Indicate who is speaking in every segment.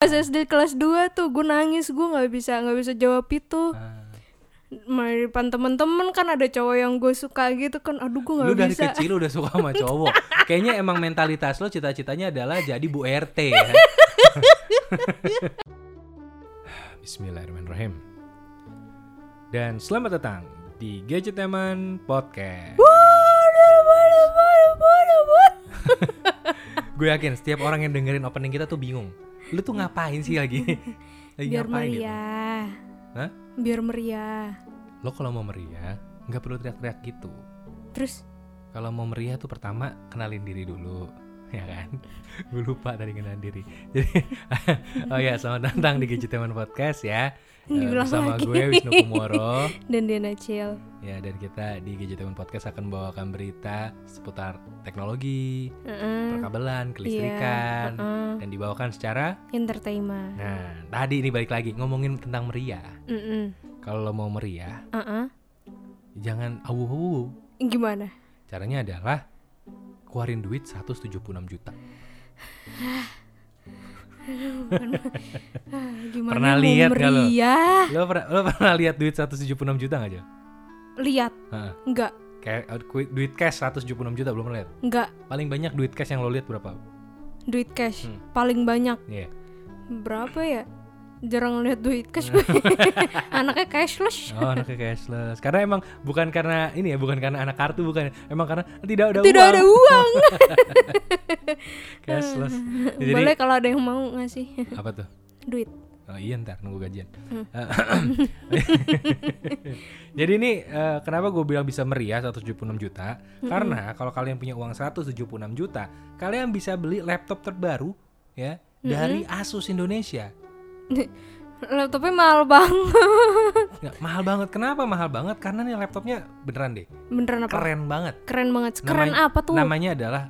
Speaker 1: Pas SD kelas 2 tuh gue nangis gue nggak bisa nggak bisa jawab itu
Speaker 2: Ah.
Speaker 1: Main di depan temen-temen kan ada cowok yang gue suka gitu kan aduh gue
Speaker 2: lu
Speaker 1: nggak
Speaker 2: dari
Speaker 1: bisa
Speaker 2: kecil udah suka sama cowok. Kayaknya emang mentalitas lo cita-citanya adalah jadi Bu RT ya. Bismillahirrahmanirrahim. Dan selamat datang di Gadgeteman Podcast. Gue yakin setiap orang yang dengerin opening kita tuh bingung. Lu tuh ngapain sih lagi? lagi
Speaker 1: biar
Speaker 2: ngapain gitu?
Speaker 1: meriah
Speaker 2: Hah?
Speaker 1: biar meriah
Speaker 2: gitu? Lo kalau mau meriah, nggak perlu teriak-teriak gitu.
Speaker 1: terus
Speaker 2: Kalau mau meriah tuh pertama kenalin diri dulu, ya kan? Gue lupa tadi kenalin diri. Jadi, oh ya selamat datang di Gadgeteman Podcast ya. Eh,
Speaker 1: Diulang
Speaker 2: bersama
Speaker 1: lagi.
Speaker 2: gue Wisnu Kumoro.
Speaker 1: dan dia Nachil
Speaker 2: ya dan kita di Gadgeteman Podcast akan membawakan berita seputar teknologi,
Speaker 1: Heeh.
Speaker 2: perkabelan,
Speaker 1: Iya,
Speaker 2: kelistrikan,
Speaker 1: heeh.
Speaker 2: dan dibawakan secara.
Speaker 1: entertainment
Speaker 2: Nah tadi ini balik lagi ngomongin tentang meriah.
Speaker 1: Mm-mm.
Speaker 2: Kalau lo mau meriah,
Speaker 1: Heeh.
Speaker 2: jangan awu-awu.
Speaker 1: gimana
Speaker 2: Caranya adalah keluarin duit 176 juta.
Speaker 1: Ah, gimana
Speaker 2: Pernah
Speaker 1: mau
Speaker 2: lihat nggak lo?
Speaker 1: meriah
Speaker 2: lo pernah lo pernah lihat duit 176 juta nggak Jo?
Speaker 1: lihat
Speaker 2: Heeh.
Speaker 1: nggak
Speaker 2: Kayak uh, kui- duit cash 176 juta belum lihat.
Speaker 1: nggak
Speaker 2: Paling banyak duit cash yang lo lihat berapa?
Speaker 1: duit cash
Speaker 2: Hmm.
Speaker 1: paling banyak
Speaker 2: Iya.
Speaker 1: berapa ya jarang lihat duit cash anaknya cashless
Speaker 2: Oh, anaknya cashless. Karena emang bukan karena ini ya, bukan karena anak kartu bukan. ya. Emang karena tidak ada
Speaker 1: tidak
Speaker 2: uang.
Speaker 1: ada uang
Speaker 2: Cashless. Ya, Jadi
Speaker 1: Eh, boleh kalau ada yang mau ngasih
Speaker 2: apa tuh?
Speaker 1: duit
Speaker 2: Oh iya ntar nunggu gajian.
Speaker 1: Hmm.
Speaker 2: Eh, Jadi ini eh, kenapa gue bilang bisa meriah 176 juta?
Speaker 1: Hmm.
Speaker 2: Karena kalau kalian punya uang 176 juta, kalian bisa beli laptop terbaru ya dari
Speaker 1: Hmm.
Speaker 2: Asus Indonesia.
Speaker 1: laptopnya mahal banget
Speaker 2: Nggak, Ya, mahal banget. Kenapa mahal banget? Karena nih laptopnya beneran deh,
Speaker 1: beneran apa
Speaker 2: keren banget.
Speaker 1: keren banget keren
Speaker 2: Namanya-
Speaker 1: apa tuh
Speaker 2: Namanya Oh. adalah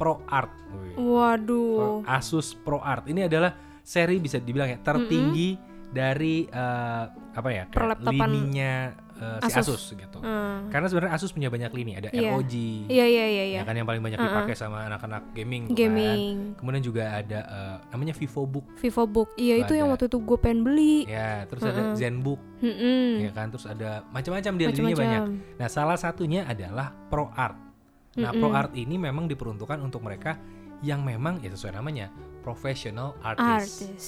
Speaker 2: ProArt. Wih.
Speaker 1: waduh
Speaker 2: Asus ProArt. Ini adalah seri bisa dibilang ya tertinggi dari eh, apa ya? Kayak
Speaker 1: Perlaptopan
Speaker 2: lininya eh, si Asus,
Speaker 1: Asus.
Speaker 2: gitu.
Speaker 1: Hmm.
Speaker 2: Karena sebenarnya Asus punya banyak lini, ada
Speaker 1: Iya.
Speaker 2: ROG.
Speaker 1: iya iya iya iya
Speaker 2: Ya kan yang paling banyak dipakai sama anak-anak gaming, tuh kan.
Speaker 1: gaming
Speaker 2: Kemudian juga ada eh, namanya VivoBook
Speaker 1: vivobook iya itu
Speaker 2: Ada.
Speaker 1: yang waktu itu gue pengen beli
Speaker 2: ya, terus ada ZenBook
Speaker 1: Mm-mm.
Speaker 2: ya kan, terus ada macam-macam dia lininya banyak.
Speaker 1: Mm. macam-macam
Speaker 2: Nah, salah satunya adalah ProArt. Nah, ProArt ini memang diperuntukkan untuk mereka yang memang ya sesuai namanya professional artist.
Speaker 1: artis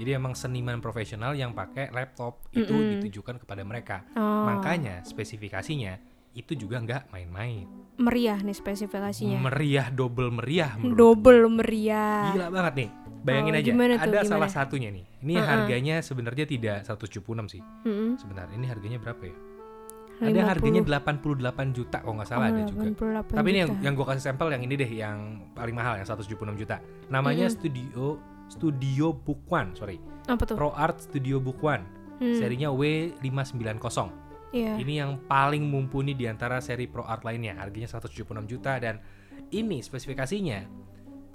Speaker 2: Jadi emang seniman profesional yang pakai laptop itu ditujukan kepada mereka.
Speaker 1: Oh,
Speaker 2: Makanya spesifikasinya itu juga nggak main-main.
Speaker 1: meriah nih spesifikasinya
Speaker 2: Meriah double meriah menurut
Speaker 1: Iya. double meriah
Speaker 2: Gila banget nih. Bayangin
Speaker 1: Oh,
Speaker 2: aja,
Speaker 1: gimana tuh,
Speaker 2: ada
Speaker 1: gimana?
Speaker 2: salah satunya nih. Ini harganya sebenarnya tidak 176 sih.
Speaker 1: Mm-mm.
Speaker 2: Sebenarnya ini harganya berapa ya? Ada harganya 88 juta kalau nggak salah ada juga.
Speaker 1: 88
Speaker 2: Tapi ini yang
Speaker 1: Oh, juta.
Speaker 2: yang gue kasih sampel yang ini deh yang paling mahal yang 176 juta. Namanya Studio Studio Book One, sorry.
Speaker 1: apa tuh?
Speaker 2: Pro Art Studio Book One.
Speaker 1: Hmm,
Speaker 2: Serinya W590.
Speaker 1: iya.
Speaker 2: Ini yang paling mumpuni di antara seri Pro Art lainnya. Harganya 176 juta dan ini spesifikasinya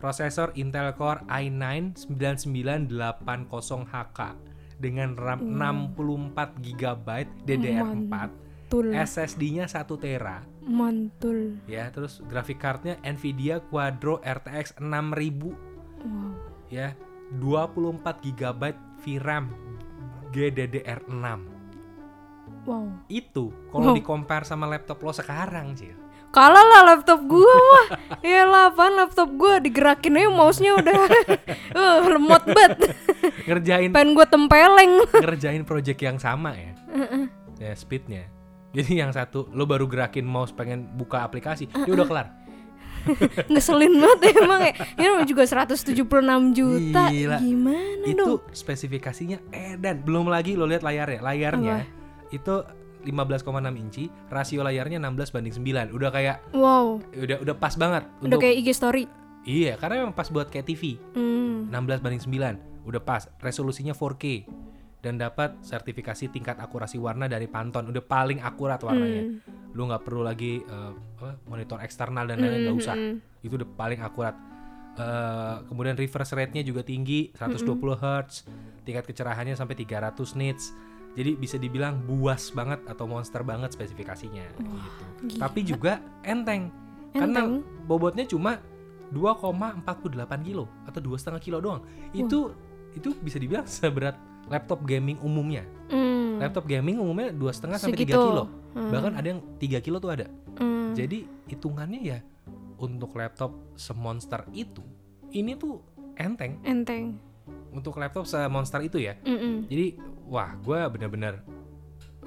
Speaker 2: prosesor Intel Core i9 9980HK dengan RAM 64 GB DDR4,
Speaker 1: Mantul,
Speaker 2: SSD-nya 1 tera
Speaker 1: mantul.
Speaker 2: ya terus grafik cardnya Nvidia Quadro RTX 6000
Speaker 1: Wow.
Speaker 2: ya 24 GB VRAM GDDR6
Speaker 1: Wow.
Speaker 2: itu kalau
Speaker 1: Wow.
Speaker 2: dikompar sama laptop lo sekarang sih
Speaker 1: Kalah lah laptop gua mah. ya apaan laptop gua digerakin aja mouse-nya udah eh lemot banget.
Speaker 2: ngerjain
Speaker 1: Pengen gua tempeleng.
Speaker 2: ngerjain project yang sama ya ya speednya jadi yang satu lo baru gerakin mouse pengen buka aplikasi dia udah kelar
Speaker 1: Nah, Ngeselin banget emang ya. Ini namanya juga 176 juta.
Speaker 2: Gila.
Speaker 1: Gimana dong?
Speaker 2: itu spesifikasinya edan belum lagi lo lihat layarnya layarnya itu 15,6 inci rasio layarnya 16 banding 9 udah kayak
Speaker 1: Wow.
Speaker 2: udah udah pas banget
Speaker 1: Udah
Speaker 2: untuk
Speaker 1: kayak IG story.
Speaker 2: iya karena memang pas buat kayak TV
Speaker 1: Hmm.
Speaker 2: 16 banding 9 udah pas resolusinya 4K dan dapat sertifikasi tingkat akurasi warna dari Pantone udah paling akurat warnanya lu nggak perlu lagi eh, apa, monitor eksternal dan
Speaker 1: Hmm,
Speaker 2: lain-lain nggak usah itu udah paling akurat Eh, kemudian refresh rate-nya juga tinggi 120 Hz tingkat kecerahannya sampai 300 nits jadi bisa dibilang buas banget atau monster banget spesifikasinya gitu
Speaker 1: gila.
Speaker 2: tapi juga enteng, karena
Speaker 1: Enteng.
Speaker 2: bobotnya cuma 2,48 kilo atau dua setengah kilo doang itu itu bisa dibilang seberat laptop gaming umumnya.
Speaker 1: Hmm.
Speaker 2: Laptop gaming umumnya dua setengah sampai tiga
Speaker 1: Segitu.
Speaker 2: kilo,
Speaker 1: Hmm.
Speaker 2: bahkan ada yang 3 kilo tuh ada.
Speaker 1: Hmm.
Speaker 2: Jadi hitungannya ya untuk laptop semonster itu, ini tuh enteng
Speaker 1: enteng. Hmm.
Speaker 2: untuk laptop semonster itu ya.
Speaker 1: Mm-mm.
Speaker 2: Jadi wah gue bener-bener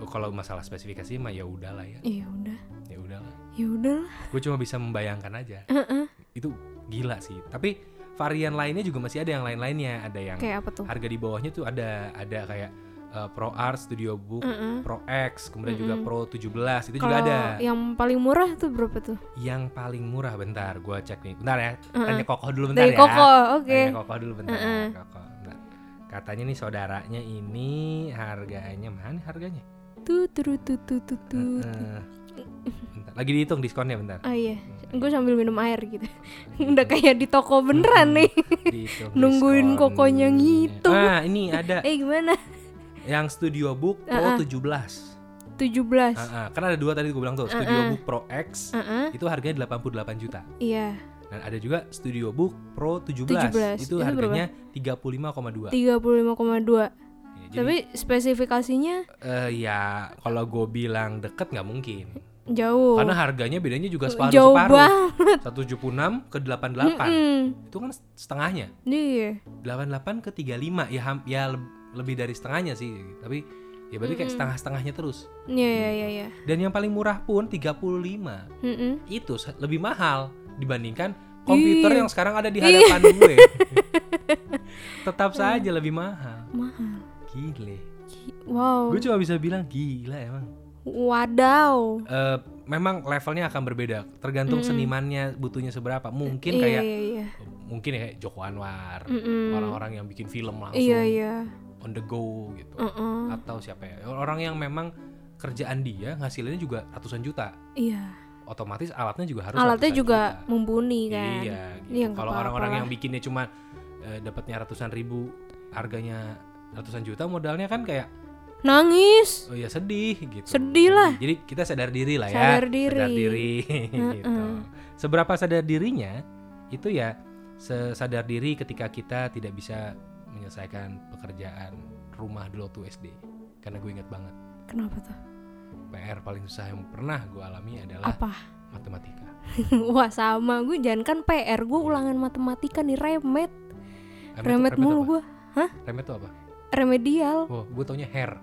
Speaker 2: eh, kalau masalah spesifikasi mah ya udahlah ya,
Speaker 1: Ya udah,
Speaker 2: ya udahlah.
Speaker 1: ya udahlah.
Speaker 2: Gue cuma bisa membayangkan aja.
Speaker 1: Heeh.
Speaker 2: Itu gila sih. Tapi varian lainnya juga masih ada yang lain-lainnya, ada yang
Speaker 1: Kayak apa tuh?
Speaker 2: harga di bawahnya tuh ada ada kayak eh, Pro Art, Studio Book,
Speaker 1: Heeh.
Speaker 2: Pro X, kemudian juga
Speaker 1: Mm-mm.
Speaker 2: Pro 17 itu juga
Speaker 1: Kalau
Speaker 2: ada.
Speaker 1: yang paling murah tuh berapa tuh?
Speaker 2: Yang paling murah bentar gua cek nih. Bentar ya.
Speaker 1: Mm-mm.
Speaker 2: Tanya kokoh dulu bentar
Speaker 1: Dari
Speaker 2: ya.
Speaker 1: Koko, oke.
Speaker 2: Tanya kokoh dulu bentar. ya,
Speaker 1: Mm-mm.
Speaker 2: Kokoh. bentar. Katanya nih saudaranya ini harganya mana harganya?
Speaker 1: Tuh, tuh, tuh, tuh, tuh, tuh.
Speaker 2: Eh, bentar. Lagi dihitung diskonnya bentar.
Speaker 1: Ah iya, gue sambil minum air gitu. Udah kayak di toko beneran
Speaker 2: Hmm.
Speaker 1: nih.
Speaker 2: Dihitung
Speaker 1: Nungguin
Speaker 2: diskonnya.
Speaker 1: kokohnya ngitung.
Speaker 2: Ah, ini ada
Speaker 1: Eh gimana?
Speaker 2: yang Studio Book Pro 17.
Speaker 1: 17
Speaker 2: Heeh, kan ada dua tadi gue bilang tuh, Studio Book Pro X
Speaker 1: Heeh.
Speaker 2: itu harganya 88 juta.
Speaker 1: Iya,
Speaker 2: Dan ada juga Studio Book Pro 17,
Speaker 1: 17,
Speaker 2: itu
Speaker 1: itu
Speaker 2: harganya 35,2.
Speaker 1: 35,2
Speaker 2: Ya, jadi
Speaker 1: Tapi spesifikasinya
Speaker 2: eh, ya kalau gue bilang deket nggak mungkin.
Speaker 1: jauh
Speaker 2: Karena harganya bedanya juga
Speaker 1: Oh.
Speaker 2: separuh
Speaker 1: Jauh
Speaker 2: separuh. 176 ke 88.
Speaker 1: Mm,
Speaker 2: Itu kan setengahnya.
Speaker 1: Iya
Speaker 2: 88 ke 35 ya ham- ya leb- lebih dari setengahnya sih. Tapi ya berarti kayak setengah-setengahnya terus.
Speaker 1: Iya, iya, iya, iya
Speaker 2: Dan yang paling murah pun 35.
Speaker 1: Mm-mm.
Speaker 2: itu se- lebih mahal dibandingkan komputer
Speaker 1: Ih.
Speaker 2: yang sekarang ada di hadapan gue. Tetap saja lebih mahal.
Speaker 1: Mahal
Speaker 2: Gile.
Speaker 1: Ki- Wow
Speaker 2: Gue cuma bisa bilang gila emang.
Speaker 1: Wadaw
Speaker 2: Eh, memang levelnya akan berbeda tergantung senimannya butuhnya seberapa.
Speaker 1: Iya,
Speaker 2: Mungkin kayak
Speaker 1: Iya, iya
Speaker 2: mungkin ya kayak Joko Anwar,
Speaker 1: Mm-mm.
Speaker 2: orang-orang yang bikin film langsung
Speaker 1: Iya, iya
Speaker 2: on the go gitu.
Speaker 1: Mm-mm.
Speaker 2: Atau siapa ya? Orang yang memang kerjaan dia hasilnya juga ratusan juta.
Speaker 1: Iya
Speaker 2: Otomatis alatnya juga harus
Speaker 1: Alatnya
Speaker 2: ratusan
Speaker 1: juga
Speaker 2: juta.
Speaker 1: membuni kan
Speaker 2: Iya. Gitu.
Speaker 1: Iya, nggak
Speaker 2: Kalau
Speaker 1: apa-apa
Speaker 2: orang-orang
Speaker 1: lah.
Speaker 2: yang bikinnya cuma eh, dapatnya ratusan ribu, harganya ratusan juta, modalnya kan kayak
Speaker 1: Nangis
Speaker 2: oh ya sedih gitu.
Speaker 1: Sedih lah.
Speaker 2: Jadi kita sadar diri lah ya.
Speaker 1: Sadar diri.
Speaker 2: Sadar diri, gitu. Seberapa sadar dirinya itu ya se- sadar diri ketika kita tidak bisa menyelesaikan pekerjaan rumah dulu tuh SD. Karena gue ingat banget
Speaker 1: Kenapa tuh?
Speaker 2: PR paling susah yang pernah gue alami adalah
Speaker 1: Apa?
Speaker 2: matematika.
Speaker 1: Wah sama gue jangan kan PR Gue
Speaker 2: Iya.
Speaker 1: ulangan matematika nih remet Remet
Speaker 2: tuh
Speaker 1: mulu
Speaker 2: apa?
Speaker 1: gue Hah?
Speaker 2: Remet tuh apa?
Speaker 1: Remedial
Speaker 2: Oh, gue taunya hair.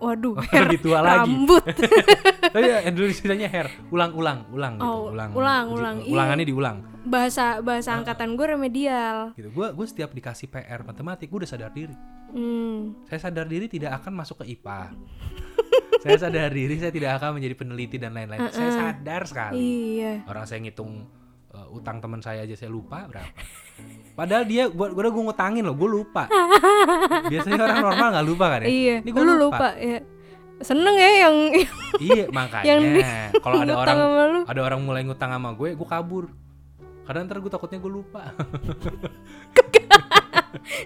Speaker 1: Waduh
Speaker 2: lebih tua lagi.
Speaker 1: Rambut
Speaker 2: Tapi ya, Indonesia-nya hair, ulang-ulang, ulang gitu,
Speaker 1: Oh,
Speaker 2: ulang.
Speaker 1: ulang,
Speaker 2: Uji-
Speaker 1: ulang.
Speaker 2: Ulangannya diulang.
Speaker 1: bahasa
Speaker 2: Ah.
Speaker 1: bahasa angkatan gue remedial
Speaker 2: Gitu. Gue gue setiap dikasih PR matematik, gue udah sadar diri.
Speaker 1: hmm.
Speaker 2: Saya sadar diri tidak akan masuk ke IPA. saya sadar diri saya tidak akan menjadi peneliti dan lain-lain. Saya sadar sekali.
Speaker 1: iya
Speaker 2: Orang saya ngitung uh, utang teman saya aja saya lupa berapa. Padahal dia gua gua udah gue ngutangin loh, gue lupa. Biasanya orang normal nggak lupa kan ya?
Speaker 1: iya
Speaker 2: Ini
Speaker 1: lu
Speaker 2: gue
Speaker 1: lupa. ya seneng ya yang
Speaker 2: iya
Speaker 1: Yang di-
Speaker 2: makanya kalau ada
Speaker 1: ngutang
Speaker 2: orang
Speaker 1: sama lu.
Speaker 2: ada orang mulai ngutang sama gue gue kabur karena ntar gue takutnya gue lupa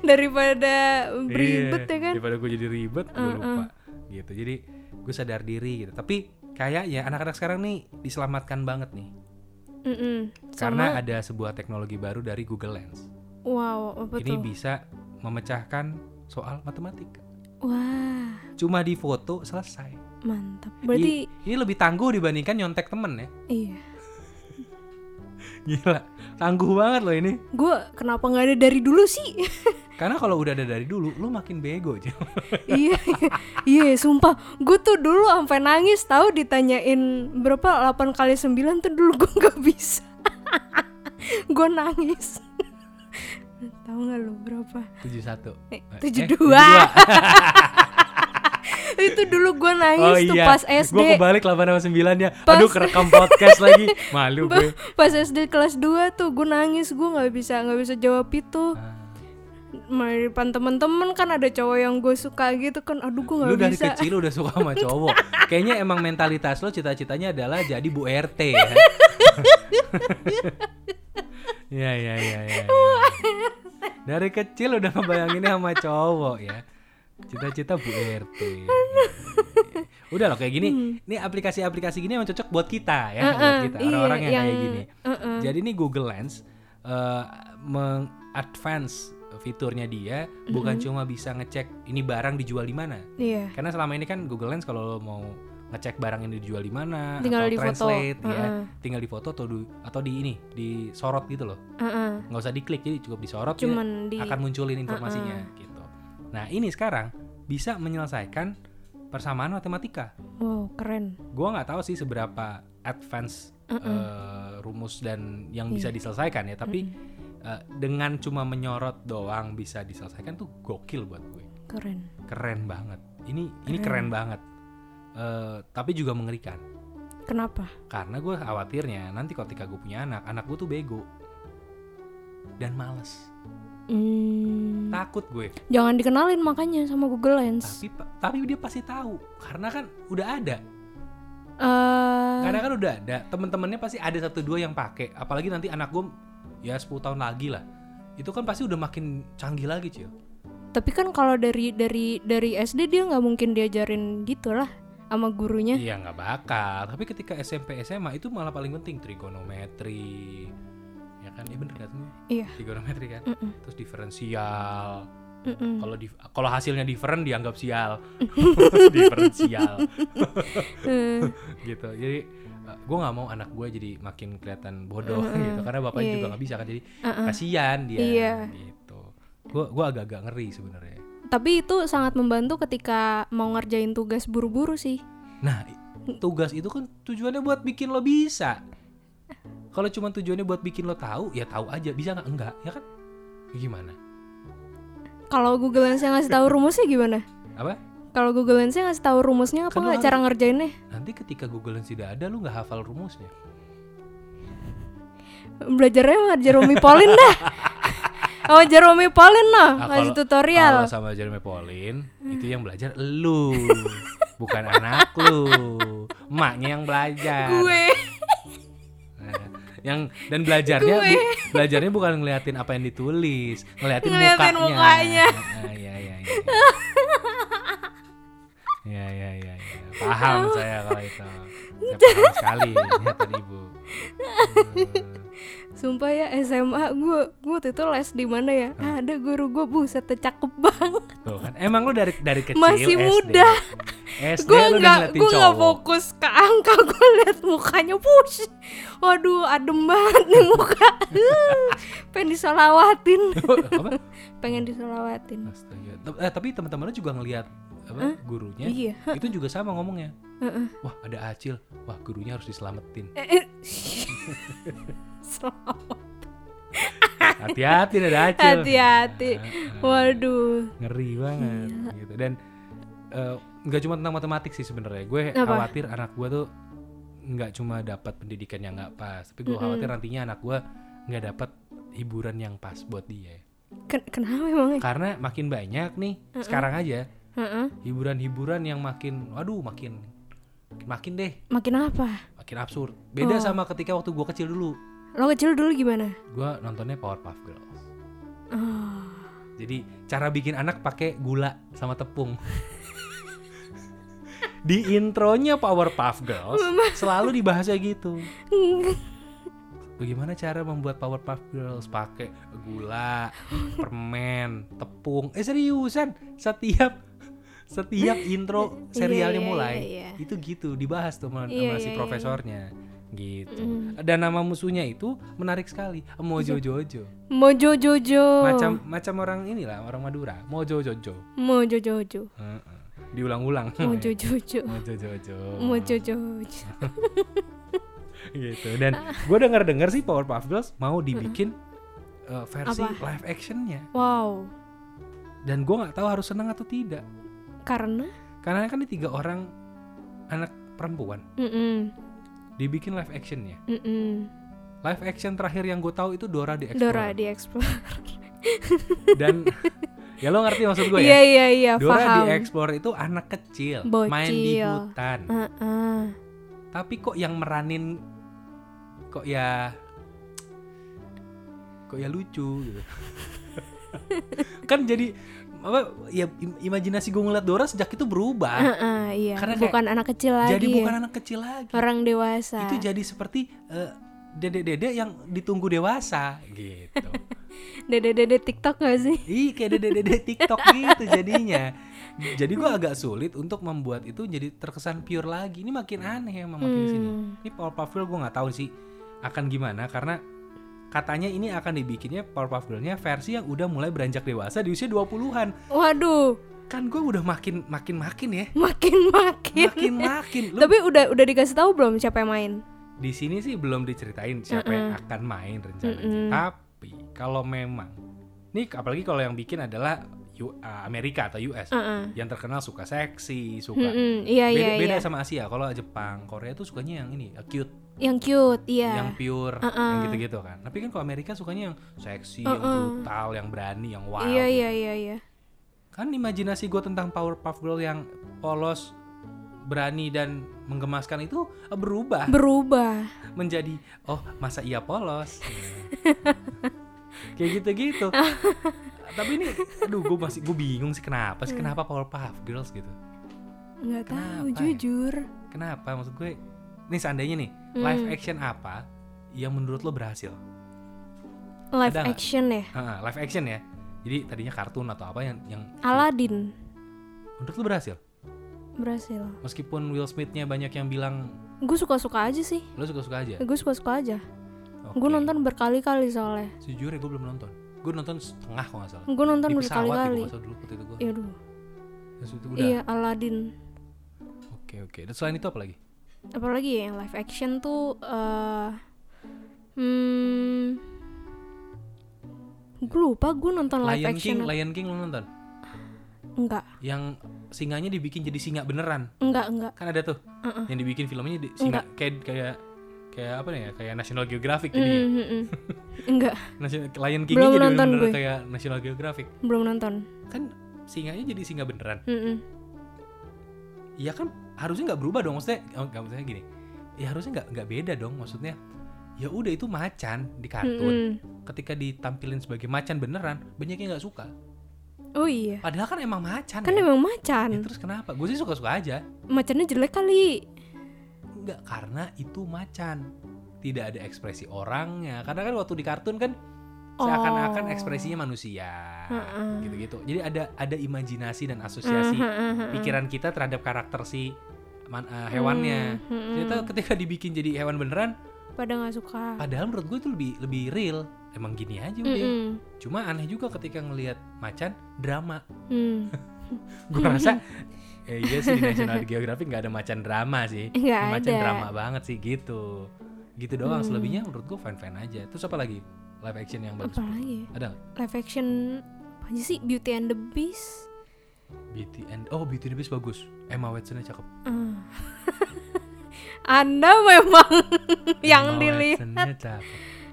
Speaker 1: daripada
Speaker 2: Iya,
Speaker 1: beribet ya kan
Speaker 2: daripada gue jadi ribet gue lupa gitu jadi gue sadar diri gitu tapi kayaknya anak-anak sekarang nih diselamatkan banget nih
Speaker 1: Mm-mm.
Speaker 2: karena
Speaker 1: sama
Speaker 2: ada sebuah teknologi baru dari Google Lens
Speaker 1: wow apa
Speaker 2: ini
Speaker 1: tuh
Speaker 2: bisa memecahkan soal matematika
Speaker 1: wah
Speaker 2: cuma di foto selesai
Speaker 1: mantap
Speaker 2: I-
Speaker 1: berarti
Speaker 2: ini lebih tangguh dibandingkan nyontek temen ya
Speaker 1: iya
Speaker 2: gila tangguh banget loh ini
Speaker 1: gue kenapa nggak ada dari dulu sih
Speaker 2: Karena kalau udah ada dari dulu, lu makin bego aja.
Speaker 1: iya iya sumpah gue tuh dulu sampai nangis tahu ditanyain berapa 8 kali 9 tuh dulu gue nggak bisa gue nangis tahu nggak lu berapa
Speaker 2: 71.
Speaker 1: Eh,
Speaker 2: Eh,
Speaker 1: 72. itu dulu gue nangis
Speaker 2: Oh,
Speaker 1: tuh pas SD
Speaker 2: Gue iya. kebalik 8 sama 9 ya.
Speaker 1: Pas-
Speaker 2: Aduh kerekam podcast lagi. Malu gue.
Speaker 1: pas SD kelas 2 tuh gue nangis gue nggak bisa nggak bisa jawab itu
Speaker 2: Ah.
Speaker 1: Malah di depan temen-temen kan ada cowok yang gue suka gitu kan aduh gue nggak
Speaker 2: Lu dari
Speaker 1: bisa
Speaker 2: kecil udah suka sama cowok. Kayaknya emang mentalitas lo cita-citanya adalah jadi Bu RT ya. Iya iya iya iya. ya. Dari kecil udah ngebayanginnya sama cowok ya. Cita-cita Bu RT. kan? Udah loh kayak gini. Ini aplikasi-aplikasi gini emang cocok buat kita ya, buat kita
Speaker 1: Hmm. iya,
Speaker 2: orang-orang yang, kayak
Speaker 1: yang-
Speaker 2: gini. Jadi ini Google Lens eh mengadvance fiturnya dia bukan cuma bisa ngecek ini barang dijual di mana.
Speaker 1: Iya.
Speaker 2: Karena selama ini kan Google Lens kalau lo mau ngecek barang ini dijual di mana
Speaker 1: Tinggal
Speaker 2: atau
Speaker 1: di foto.
Speaker 2: translate ya,
Speaker 1: Heeh.
Speaker 2: tinggal di foto atau di, atau di ini, disorot gitu loh.
Speaker 1: Heeh.
Speaker 2: nggak usah diklik jadi cukup disorot dia
Speaker 1: Cuman di
Speaker 2: Iya. akan munculin informasinya gitu. Nah, ini sekarang bisa menyelesaikan persamaan matematika.
Speaker 1: wow, keren.
Speaker 2: Gua nggak tahu sih seberapa advance eh, rumus dan yang
Speaker 1: Iya.
Speaker 2: bisa diselesaikan ya, tapi eh, dengan cuma menyorot doang bisa diselesaikan tuh gokil buat gue.
Speaker 1: Keren.
Speaker 2: Keren banget. Ini ini keren banget. Eh, tapi juga mengerikan
Speaker 1: Kenapa?
Speaker 2: karena gue khawatirnya nanti ketika gue punya anak, anak gue tuh bego dan males.
Speaker 1: Hmm,
Speaker 2: Takut gue.
Speaker 1: jangan dikenalin makanya sama Google Lens.
Speaker 2: tapi pa- tapi dia pasti tahu karena kan udah ada
Speaker 1: Eh,
Speaker 2: karena kan udah ada temen-temennya pasti ada satu dua yang pakai apalagi nanti anak gue ya 10 tahun lagi lah itu kan pasti udah makin canggih lagi cuy
Speaker 1: tapi kan kalau dari dari dari SD dia nggak mungkin diajarin gitulah sama gurunya.
Speaker 2: iya nggak bakal tapi ketika SMP SMA itu malah paling penting trigonometri ya kan iya bener kan
Speaker 1: Iya.
Speaker 2: trigonometri kan
Speaker 1: Mm-mm.
Speaker 2: terus diferensial
Speaker 1: Mm-mm.
Speaker 2: kalau di kalau hasilnya different dianggap sial diferensial
Speaker 1: Eh,
Speaker 2: gitu jadi gue nggak mau anak gue jadi makin kelihatan bodoh gitu karena bapaknya
Speaker 1: Iya,
Speaker 2: juga
Speaker 1: iya.
Speaker 2: nggak bisa kan jadi kasihan dia
Speaker 1: Iya.
Speaker 2: gitu gue gua agak-agak ngeri sebenarnya
Speaker 1: tapi itu sangat membantu ketika mau ngerjain tugas buru-buru sih.
Speaker 2: nah i- tugas itu kan tujuannya buat bikin lo bisa kalau cuma tujuannya buat bikin lo tahu ya tahu aja bisa nggak enggak ya kan Ya gimana
Speaker 1: Kalau Google Lens yang ngasih tahu rumusnya gimana?
Speaker 2: apa
Speaker 1: Kalau Google Lens yang ngasih tahu rumusnya apa
Speaker 2: Kan lu
Speaker 1: nggak
Speaker 2: harus-
Speaker 1: cara ngerjainnya?
Speaker 2: nanti ketika Google Lens tidak ada lo nggak hafal rumusnya
Speaker 1: Belajarnya sama Jeremy Pauline dah. Sama Jeremy Pauline lah,
Speaker 2: Nah,
Speaker 1: ngasih
Speaker 2: kalau-
Speaker 1: tutorial.
Speaker 2: Kalau sama Jeremy Pauline itu yang belajar lu, bukan anak lu. Emaknya yang belajar.
Speaker 1: Gue
Speaker 2: Nah, yang dan belajarnya bu-
Speaker 1: Gue.
Speaker 2: belajarnya bukan ngeliatin apa yang ditulis, ngeliatin,
Speaker 1: Ngeliatin
Speaker 2: mukanya.
Speaker 1: mukanya.
Speaker 2: Ah, iya iya iya. Iya iya iya. iya. Paham saya kalau itu. Saya paham sekali ingatan ibu.
Speaker 1: sumpah ya SMA gue gue waktu itu les di mana ya? Ah, ada guru gue buset tuh cakep banget.
Speaker 2: Tuh kan. Emang lu dari dari kecil
Speaker 1: Masih
Speaker 2: SD.
Speaker 1: muda.
Speaker 2: SD
Speaker 1: Gue
Speaker 2: lu udah
Speaker 1: nggak
Speaker 2: ngeliatin
Speaker 1: gue nggak
Speaker 2: cowok.
Speaker 1: fokus ke angka gue liat mukanya push. Waduh adem banget nih muka. Uh, Pengen disolawatin,
Speaker 2: apa?
Speaker 1: pengen disolawatin.
Speaker 2: Astaga. Tep- eh, tapi teman-teman lu juga ngelihat apa gurunya
Speaker 1: Iya.
Speaker 2: itu juga sama ngomongnya.
Speaker 1: Heeh.
Speaker 2: Wah, ada Acil. Wah, gurunya harus diselamatin.
Speaker 1: Eh, eh. Selawat.
Speaker 2: Hati-hati ada Acil.
Speaker 1: Hati-hati.
Speaker 2: Ah, ah.
Speaker 1: Waduh.
Speaker 2: Ngeri banget gitu. Dan eh, nggak cuma tentang matematik sih sebenarnya. Gue
Speaker 1: Apa?
Speaker 2: khawatir anak gue tuh nggak cuma dapat pendidikan yang nggak pas, tapi gue khawatir nantinya anak gue nggak dapat hiburan yang pas buat dia.
Speaker 1: Ken- kenapa emangnya?
Speaker 2: Karena makin banyak nih sekarang aja
Speaker 1: Heeh.
Speaker 2: hiburan-hiburan yang makin waduh makin makin deh
Speaker 1: Makin apa?
Speaker 2: makin absurd. Beda sama ketika waktu gua kecil dulu.
Speaker 1: Lo kecil dulu gimana?
Speaker 2: Gua nontonnya Powerpuff Girls.
Speaker 1: Oh,
Speaker 2: Jadi cara bikin anak pakai gula sama tepung. Di intronya Powerpuff Girls selalu dibahasnya gitu. Bagaimana cara membuat Powerpuff Girls pakai gula, permen, tepung. Eh seriusan, setiap setiap intro serialnya
Speaker 1: iya,
Speaker 2: mulai
Speaker 1: iya, iya.
Speaker 2: itu gitu dibahas tuh
Speaker 1: Iya,
Speaker 2: sama, sama si
Speaker 1: iya, Mm. iya.
Speaker 2: profesornya gitu. Dan nama musuhnya itu menarik sekali, Mojo Jojo.
Speaker 1: Mojo Jojo.
Speaker 2: Macam macam orang inilah, orang Madura, Mojo Jojo.
Speaker 1: Mojo Jojo.
Speaker 2: Heeh. Diulang-ulang.
Speaker 1: Mojo Jojo.
Speaker 2: Mojo Jojo.
Speaker 1: Mojo Jojo.
Speaker 2: gitu. Dan gue denger-denger sih Powerpuff Girls mau dibikin eh, versi live actionnya
Speaker 1: Wow.
Speaker 2: dan gue nggak tahu harus senang atau tidak
Speaker 1: Karena?
Speaker 2: karena kan ini tiga orang anak perempuan
Speaker 1: Mm-mm.
Speaker 2: dibikin live actionnya
Speaker 1: Mm-mm.
Speaker 2: live action terakhir yang gue tahu itu Dora the
Speaker 1: Dora
Speaker 2: Explorer
Speaker 1: di Explorer.
Speaker 2: dan ya lo ngerti maksud gue
Speaker 1: Iya
Speaker 2: ya
Speaker 1: iya iya.
Speaker 2: Dora
Speaker 1: Paham.
Speaker 2: the Explorer itu anak kecil main di
Speaker 1: Bocil.
Speaker 2: hutan
Speaker 1: Heeh.
Speaker 2: tapi kok yang meranin kok ya kok ya lucu gitu kan jadi apa ya im- imajinasi gue ngeliat Dora sejak itu berubah
Speaker 1: Heeh, iya.
Speaker 2: Karena kayak-
Speaker 1: bukan anak kecil lagi.
Speaker 2: jadi
Speaker 1: ya.
Speaker 2: bukan anak kecil lagi
Speaker 1: orang dewasa.
Speaker 2: itu jadi seperti eh, dede-dede yang ditunggu dewasa gitu
Speaker 1: Dede-dede TikTok gak sih?
Speaker 2: Ih kayak dede-dede TikTok gitu jadinya. Jadi gua agak sulit untuk membuat itu jadi terkesan pure lagi. Ini makin aneh ya makin sini.
Speaker 1: Hmm.
Speaker 2: Ini Powerpuff Girl gua nggak tahu sih akan gimana karena katanya ini akan dibikinnya Powerpuff Girl-nya versi yang udah mulai beranjak dewasa di usia 20-an.
Speaker 1: Waduh,
Speaker 2: Kan gua udah makin makin makin ya.
Speaker 1: makin-makin.
Speaker 2: Makin makin. Lu
Speaker 1: Tapi udah udah dikasih tahu belum siapa yang main?
Speaker 2: di sini sih belum diceritain siapa yang akan main rencananya.
Speaker 1: Mm-mm.
Speaker 2: Tapi kalau memang nih apalagi kalau yang bikin adalah U- uh, Amerika atau US
Speaker 1: Heeh.
Speaker 2: yang terkenal suka seksi, suka
Speaker 1: Mm-mm, Iya
Speaker 2: beda,
Speaker 1: iya
Speaker 2: beda
Speaker 1: iya.
Speaker 2: sama Asia. Kalau Jepang, Korea tuh sukanya yang ini, uh, cute,
Speaker 1: Yang cute,
Speaker 2: yang
Speaker 1: iya.
Speaker 2: pure, yang
Speaker 1: Uh-uh.
Speaker 2: gitu-gitu kan. Tapi kan kalau Amerika sukanya yang seksi, yang
Speaker 1: Uh-uh.
Speaker 2: brutal, yang berani, yang wild.
Speaker 1: Iya iya iya iya.
Speaker 2: Kan imajinasi gue tentang Powerpuff Girl yang polos, berani dan menggemaskan itu uh, berubah
Speaker 1: Berubah.
Speaker 2: menjadi oh masa iya polos kayak gitu-gitu tapi ini aduh gue masih gue bingung sih kenapa sih kenapa Powerpuff Girls gitu
Speaker 1: nggak tahu
Speaker 2: Kenapa ya?
Speaker 1: jujur.
Speaker 2: kenapa maksud gue nih seandainya nih
Speaker 1: Hmm.
Speaker 2: live action apa yang menurut lo berhasil
Speaker 1: Live
Speaker 2: Ada nggak? Iya.
Speaker 1: action ya.
Speaker 2: Heeh, live action ya jadi tadinya kartun atau apa yang yang
Speaker 1: Aladdin
Speaker 2: menurut lo berhasil
Speaker 1: berhasil.
Speaker 2: meskipun Will Smithnya banyak yang bilang
Speaker 1: Gue suka-suka aja sih.
Speaker 2: lo suka-suka aja
Speaker 1: Gue suka-suka aja.
Speaker 2: Iya. Oke.
Speaker 1: Gue nonton berkali-kali soalnya.
Speaker 2: sejujurnya gue belum nonton gue nonton setengah kalau nggak salah
Speaker 1: Gue nonton
Speaker 2: di pesawat ya,
Speaker 1: berkali-kali.
Speaker 2: gue dulu waktu itu gue
Speaker 1: Iya duh.
Speaker 2: Terus itu udah
Speaker 1: Iya Aladdin.
Speaker 2: Oke oke. Dan selain itu apa lagi?
Speaker 1: Apalagi ya yang live action tuh. eh hmm. Gue lupa gue nonton live
Speaker 2: Lion King,
Speaker 1: action. apa-
Speaker 2: Lion King lo nonton?
Speaker 1: Enggak,
Speaker 2: Yang singanya dibikin jadi singa beneran.
Speaker 1: enggak, enggak.
Speaker 2: Kan ada tuh.
Speaker 1: Uh-uh.
Speaker 2: Yang dibikin filmnya di singa kayak kayak kayak apa nih ya? Kayak National Geographic jadi.
Speaker 1: Mm, mm, mm. enggak,
Speaker 2: National Lion King
Speaker 1: Belum
Speaker 2: jadi
Speaker 1: nonton
Speaker 2: bener
Speaker 1: gue.
Speaker 2: kayak National Geographic.
Speaker 1: belum nonton.
Speaker 2: Kan singanya jadi singa beneran.
Speaker 1: Mm, mm.
Speaker 2: Iya kan harusnya nggak berubah dong maksudnya. Oh, nggak maksudnya gini. Ya harusnya nggak nggak beda dong maksudnya. Ya udah itu macan di kartun.
Speaker 1: Mm,
Speaker 2: Ketika ditampilin sebagai macan beneran, banyak yang nggak suka.
Speaker 1: mm. Oh iya.
Speaker 2: Padahal kan emang macan.
Speaker 1: Kan
Speaker 2: ya.
Speaker 1: emang
Speaker 2: Ya,
Speaker 1: macan.
Speaker 2: terus kenapa? Gue sih suka-suka aja.
Speaker 1: Macannya jelek kali.
Speaker 2: Enggak, karena itu macan. Tidak ada ekspresi orangnya. Karena kan waktu di kartun kan seakan-akan
Speaker 1: Oh.
Speaker 2: ekspresinya manusia.
Speaker 1: Heeh.
Speaker 2: Gitu-gitu. Jadi ada ada imajinasi dan
Speaker 1: Ah,
Speaker 2: asosiasi
Speaker 1: Mm-hmm. Hmm.
Speaker 2: pikiran kita terhadap karakter si man- eh, hewannya.
Speaker 1: Mm, mm,
Speaker 2: Ternyata ketika dibikin jadi hewan beneran,
Speaker 1: Pada nggak suka.
Speaker 2: padahal menurut gue itu lebih lebih real. Emang gini aja
Speaker 1: Mm,
Speaker 2: udah.
Speaker 1: mm.
Speaker 2: Cuma aneh juga ketika ngelihat macan drama.
Speaker 1: Mm.
Speaker 2: Gue rasa eh, iya sih di National Geographic nggak ada macan drama sih.
Speaker 1: Nggak
Speaker 2: Ini macam
Speaker 1: ada.
Speaker 2: drama banget sih gitu gitu doang
Speaker 1: Hmm.
Speaker 2: selebihnya menurut gue fan fan aja terus apa lagi live action yang bagus
Speaker 1: Apa lagi? ya?
Speaker 2: ada nggak?
Speaker 1: Live action apa aja sih? Beauty and the Beast.
Speaker 2: Beauty and oh Beauty and the Beast bagus Emma Watsonnya cakep
Speaker 1: Ah. Anda memang yang
Speaker 2: Emma
Speaker 1: dilihat
Speaker 2: Watsonnya cakep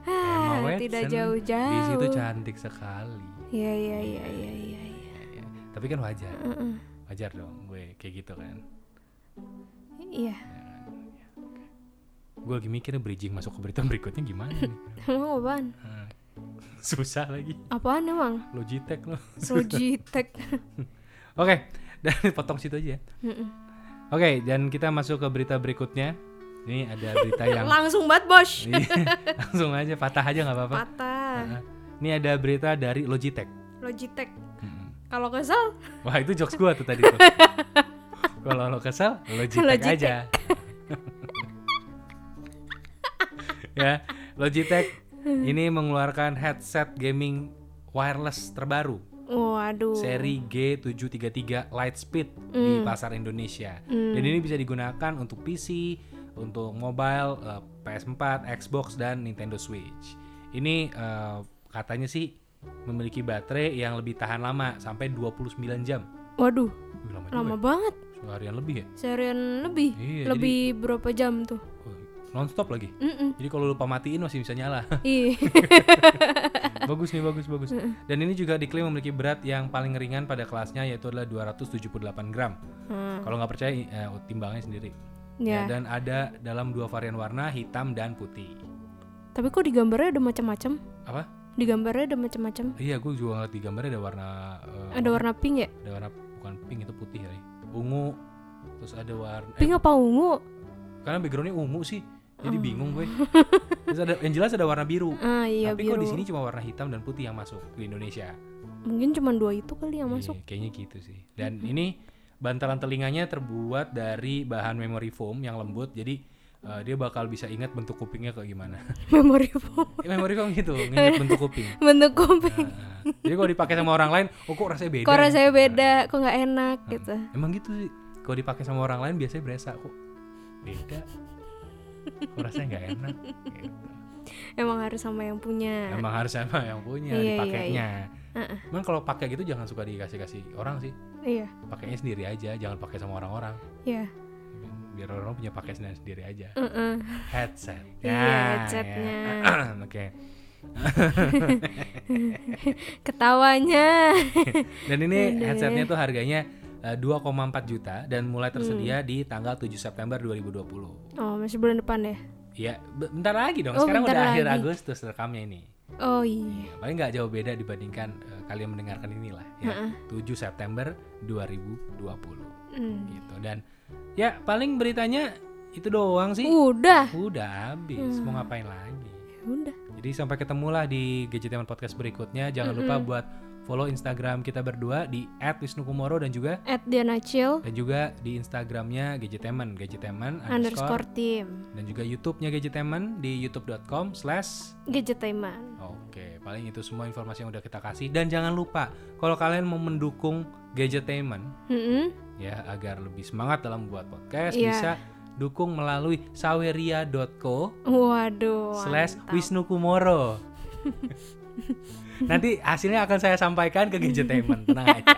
Speaker 2: Emma
Speaker 1: Ah, tidak
Speaker 2: Watson
Speaker 1: jauh-jauh.
Speaker 2: di situ cantik sekali
Speaker 1: Iya iya iya iya iya. iya.
Speaker 2: Ya, ya. tapi kan wajar
Speaker 1: Mm-mm.
Speaker 2: wajar dong gue kayak gitu kan
Speaker 1: Iya.
Speaker 2: gue lagi mikir bridging masuk ke berita berikutnya gimana nih
Speaker 1: Emang apaan?
Speaker 2: Ah, susah lagi
Speaker 1: Apaan emang?
Speaker 2: Logitech loh oke
Speaker 1: Logitech.
Speaker 2: dan potong situ aja ya
Speaker 1: Mm-mm.
Speaker 2: Oke, dan kita masuk ke berita berikutnya. Ini ada berita yang Iya,
Speaker 1: Langsung banget bos.
Speaker 2: langsung aja patah aja nggak apa-apa.
Speaker 1: Patah.
Speaker 2: Nah, Ini ada berita dari Logitech.
Speaker 1: Logitech.
Speaker 2: Mm-mm.
Speaker 1: Kalau kesel,
Speaker 2: Wah itu jokes gua tuh tadi tuh. Kalau lo kesel, Logitech,
Speaker 1: Logitech.
Speaker 2: aja. ya, Logitech ini mengeluarkan headset gaming wireless terbaru
Speaker 1: waduh.
Speaker 2: seri G733 Lightspeed di pasar Indonesia. Dan ini bisa digunakan untuk PC, untuk mobile, eh, PS4, Xbox dan Nintendo Switch. Ini eh, katanya sih memiliki baterai yang lebih tahan lama sampai 29 jam.
Speaker 1: Waduh,
Speaker 2: Wih, lama juga
Speaker 1: lama
Speaker 2: ya.
Speaker 1: banget.
Speaker 2: Seharian lebih ya?
Speaker 1: Serian lebih,
Speaker 2: Iya,
Speaker 1: lebih berapa jam tuh?
Speaker 2: Wah, nonstop lagi.
Speaker 1: Mm-mm. Iya.
Speaker 2: Jadi kalau lupa matiin masih bisa nyala.
Speaker 1: Ih,
Speaker 2: bagus nih, bagus, bagus. Dan ini juga diklaim memiliki berat yang paling ringan pada kelasnya yaitu adalah 278 gram.
Speaker 1: Hmm,
Speaker 2: Kalau nggak percaya eh, timbangannya sendiri. Ya,
Speaker 1: ya.
Speaker 2: dan ada dalam dua varian warna hitam dan putih.
Speaker 1: Tapi kok di gambarnya ada macam-macam?
Speaker 2: Apa?
Speaker 1: Di gambarnya ada macam-macam.
Speaker 2: Iya, gue juga ngeliat di gambarnya ada warna eh,
Speaker 1: Ada warna pink ya?
Speaker 2: ada warna bukan pink itu putih kali. Ungu. Terus ada warna eh,
Speaker 1: Pink Oh. apa ungu?
Speaker 2: karena backgroundnya ungu sih. Jadi bingung gue. Terus ada yang jelas ada warna biru.
Speaker 1: ah iya
Speaker 2: Tapi
Speaker 1: biru
Speaker 2: kok di sini cuma warna hitam dan putih yang masuk di Indonesia.
Speaker 1: mungkin cuma dua itu kali yang
Speaker 2: Iya,
Speaker 1: masuk
Speaker 2: kayaknya gitu sih. Dan ini bantalan telinganya terbuat dari bahan memory foam yang lembut. Jadi eh, dia bakal bisa ingat bentuk kupingnya kayak gimana.
Speaker 1: memory foam
Speaker 2: Eh, memory foam gitu, ingat bentuk kuping.
Speaker 1: bentuk kuping
Speaker 2: Nah, jadi kalau dipakai sama orang lain, oh kok rasanya beda.
Speaker 1: kok
Speaker 2: ya?"
Speaker 1: rasanya
Speaker 2: Nah,
Speaker 1: beda kok nggak enak gitu
Speaker 2: Emang gitu sih. Kalau dipakai sama orang lain biasanya berasa kok beda. Kok rasanya nggak enak. Gitu.
Speaker 1: emang harus sama yang punya
Speaker 2: Emang harus sama yang
Speaker 1: Nah.
Speaker 2: punya
Speaker 1: Iya, iya,
Speaker 2: dipakainya.
Speaker 1: Heeh.
Speaker 2: Emang kalau pakai gitu jangan suka dikasih-kasih orang sih.
Speaker 1: iya
Speaker 2: Pakainya sendiri aja, jangan pakai sama orang-orang.
Speaker 1: iya
Speaker 2: Biar orang punya pakai sendiri sendiri aja.
Speaker 1: Heeh.
Speaker 2: Headset.
Speaker 1: Iya,
Speaker 2: Ya,
Speaker 1: headsetnya.
Speaker 2: ya. Oke.
Speaker 1: ketawanya
Speaker 2: Dan ini
Speaker 1: Ini.
Speaker 2: headsetnya tuh harganya eh, 2,4 juta dan mulai
Speaker 1: Hmm.
Speaker 2: tersedia di tanggal 7 September 2020.
Speaker 1: oh masih bulan depan ya
Speaker 2: Iya, be- bentar lagi dong.
Speaker 1: Oh,
Speaker 2: Sekarang
Speaker 1: bentar
Speaker 2: udah akhir
Speaker 1: lagi.
Speaker 2: Agustus rekamnya ini.
Speaker 1: oh iya
Speaker 2: Ya, paling nggak jauh beda dibandingkan eh, kalian mendengarkan inilah ya. 7 September 2020
Speaker 1: Hmm.
Speaker 2: gitu. Dan ya paling beritanya itu doang sih.
Speaker 1: udah Ya
Speaker 2: Udah habis,
Speaker 1: Hmm.
Speaker 2: mau ngapain lagi?
Speaker 1: udah
Speaker 2: Jadi sampai ketemulah di Gadgeteman Podcast berikutnya. Jangan lupa buat follow Instagram kita berdua di @wisnukumoro dan juga
Speaker 1: at Diana Chill
Speaker 2: dan juga di Instagramnya Gadgeteman, Gadgeteman
Speaker 1: underscore
Speaker 2: underscore
Speaker 1: team
Speaker 2: dan juga YouTube-nya Gadgeteman di youtube.com slash
Speaker 1: gadgetainment
Speaker 2: Oke, paling itu semua informasi yang udah kita kasih dan jangan lupa kalau kalian mau mendukung Gadgeteman
Speaker 1: Mm-mm.
Speaker 2: ya agar lebih semangat dalam buat podcast
Speaker 1: Iya.
Speaker 2: bisa dukung melalui saweria.co
Speaker 1: waduh
Speaker 2: slash
Speaker 1: mantap.
Speaker 2: Wisnu Kumoro. Nanti hasilnya akan saya sampaikan ke Gadgetainment, tenang aja.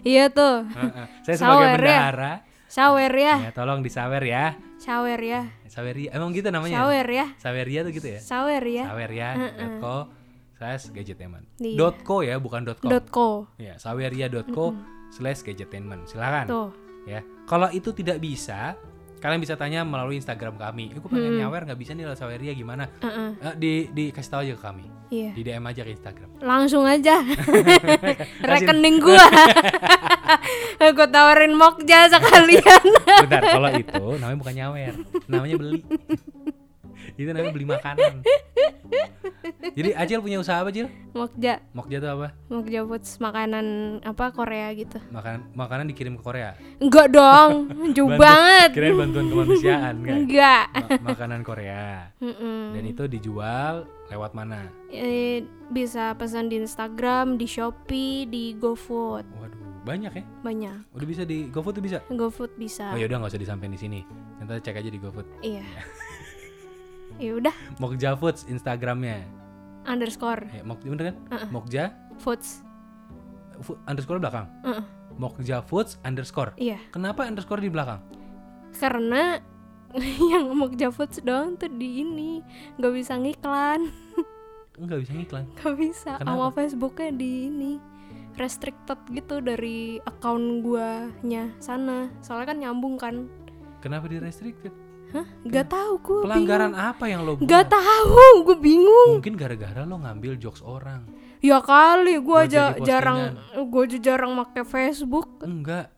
Speaker 1: iya tuh
Speaker 2: Heeh. saya sebagai
Speaker 1: Sawer ya?
Speaker 2: bendahara,
Speaker 1: sawer ya
Speaker 2: ya tolong disawer ya.
Speaker 1: sawer ya
Speaker 2: Saweria, emang gitu namanya?
Speaker 1: sawer ya
Speaker 2: Saweria tuh gitu ya?
Speaker 1: sawer ya
Speaker 2: Saweria.co slash Gadgetainment.
Speaker 1: Iya.
Speaker 2: Dot .co ya, bukan dot .com.
Speaker 1: dot co
Speaker 2: Ya, saweria.co slash Gadgetainment. Silakan.
Speaker 1: tuh
Speaker 2: Ya. Kalau itu tidak bisa, kalian bisa tanya melalui Instagram kami. Eh, gue pengen nyawer nggak bisa nih lewat Saweria gimana?
Speaker 1: Heeh.
Speaker 2: Eh, di dikasih tahu aja ke kami.
Speaker 1: iya
Speaker 2: Di DM aja ke Instagram.
Speaker 1: langsung aja rekening gua gua tawarin mokja sekalian
Speaker 2: Bentar, kalau itu namanya bukan nyawer, namanya beli. itu namanya beli makanan. Jadi Acil punya usaha apa, Cil?
Speaker 1: mokja
Speaker 2: Mokja tuh apa?
Speaker 1: mokja foods makanan apa Korea gitu
Speaker 2: Makanan makanan dikirim ke Korea.
Speaker 1: enggak dong jauh
Speaker 2: Bantu-
Speaker 1: banget
Speaker 2: Kirain bantuan kemanusiaan kan.
Speaker 1: enggak
Speaker 2: Ma- makanan Korea.
Speaker 1: Mm-mm.
Speaker 2: Dan itu dijual lewat mana?
Speaker 1: Eh, bisa pesan di Instagram, di Shopee, di GoFood
Speaker 2: Waduh, banyak ya.
Speaker 1: banyak.
Speaker 2: Udah bisa di GoFood tuh bisa.
Speaker 1: GoFood bisa.
Speaker 2: Oh yaudah nggak usah disampaikan di sini. Nanti cek aja di GoFood.
Speaker 1: Iya. Ya udah
Speaker 2: Mokja Foods Instagramnya.
Speaker 1: underscore
Speaker 2: Ya, Mok, bener kan?
Speaker 1: Ah,
Speaker 2: Mokja
Speaker 1: foods.
Speaker 2: fu- underscore belakang.
Speaker 1: Heeh.
Speaker 2: Mokja Foods underscore.
Speaker 1: Iya.
Speaker 2: Kenapa underscore di belakang?
Speaker 1: Karena yang Mokja Foods doang tuh di ini nggak bisa ngiklan,
Speaker 2: Nggak bisa ngiklan.
Speaker 1: nggak bisa. Sama Facebooknya di ini restricted gitu dari account guanya sana. Soalnya kan nyambung kan.
Speaker 2: Kenapa di restricted?
Speaker 1: Gak tahu gue.
Speaker 2: Iya. Pelanggaran apa yang lo buat?
Speaker 1: Gak tahu, gue bingung.
Speaker 2: Mungkin gara-gara lo ngambil jokes orang.
Speaker 1: Ya kali, gue
Speaker 2: Buat
Speaker 1: aja
Speaker 2: jadi
Speaker 1: jarang, gue aja jarang make Facebook.
Speaker 2: Enggak.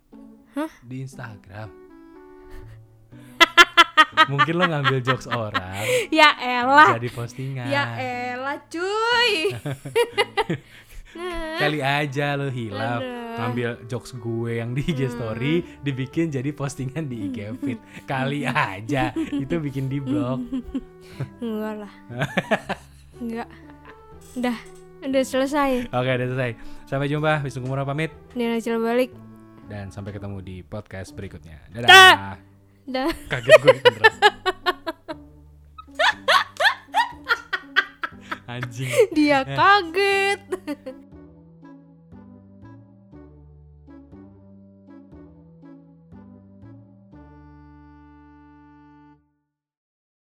Speaker 2: Di Instagram. Mungkin lo ngambil jokes orang
Speaker 1: Ya elah,
Speaker 2: jadi postingan.
Speaker 1: ya elah cuy. nah,
Speaker 2: Kali aja lo hilaf
Speaker 1: Aduh.
Speaker 2: ngambil jokes gue yang di IG story
Speaker 1: Hmm.
Speaker 2: dibikin jadi postingan di IG feed. Kali aja itu bikin di blog.
Speaker 1: enggak lah, enggak. Udah, udah selesai.
Speaker 2: Oke, udah selesai. Sampai jumpa. Wisnu Kumoro pamit
Speaker 1: Dia hasil balik.
Speaker 2: dan sampai ketemu di podcast berikutnya. Dadah.
Speaker 1: Dah. Dah.
Speaker 2: kaget gue beneran. anjing
Speaker 1: Dia kaget.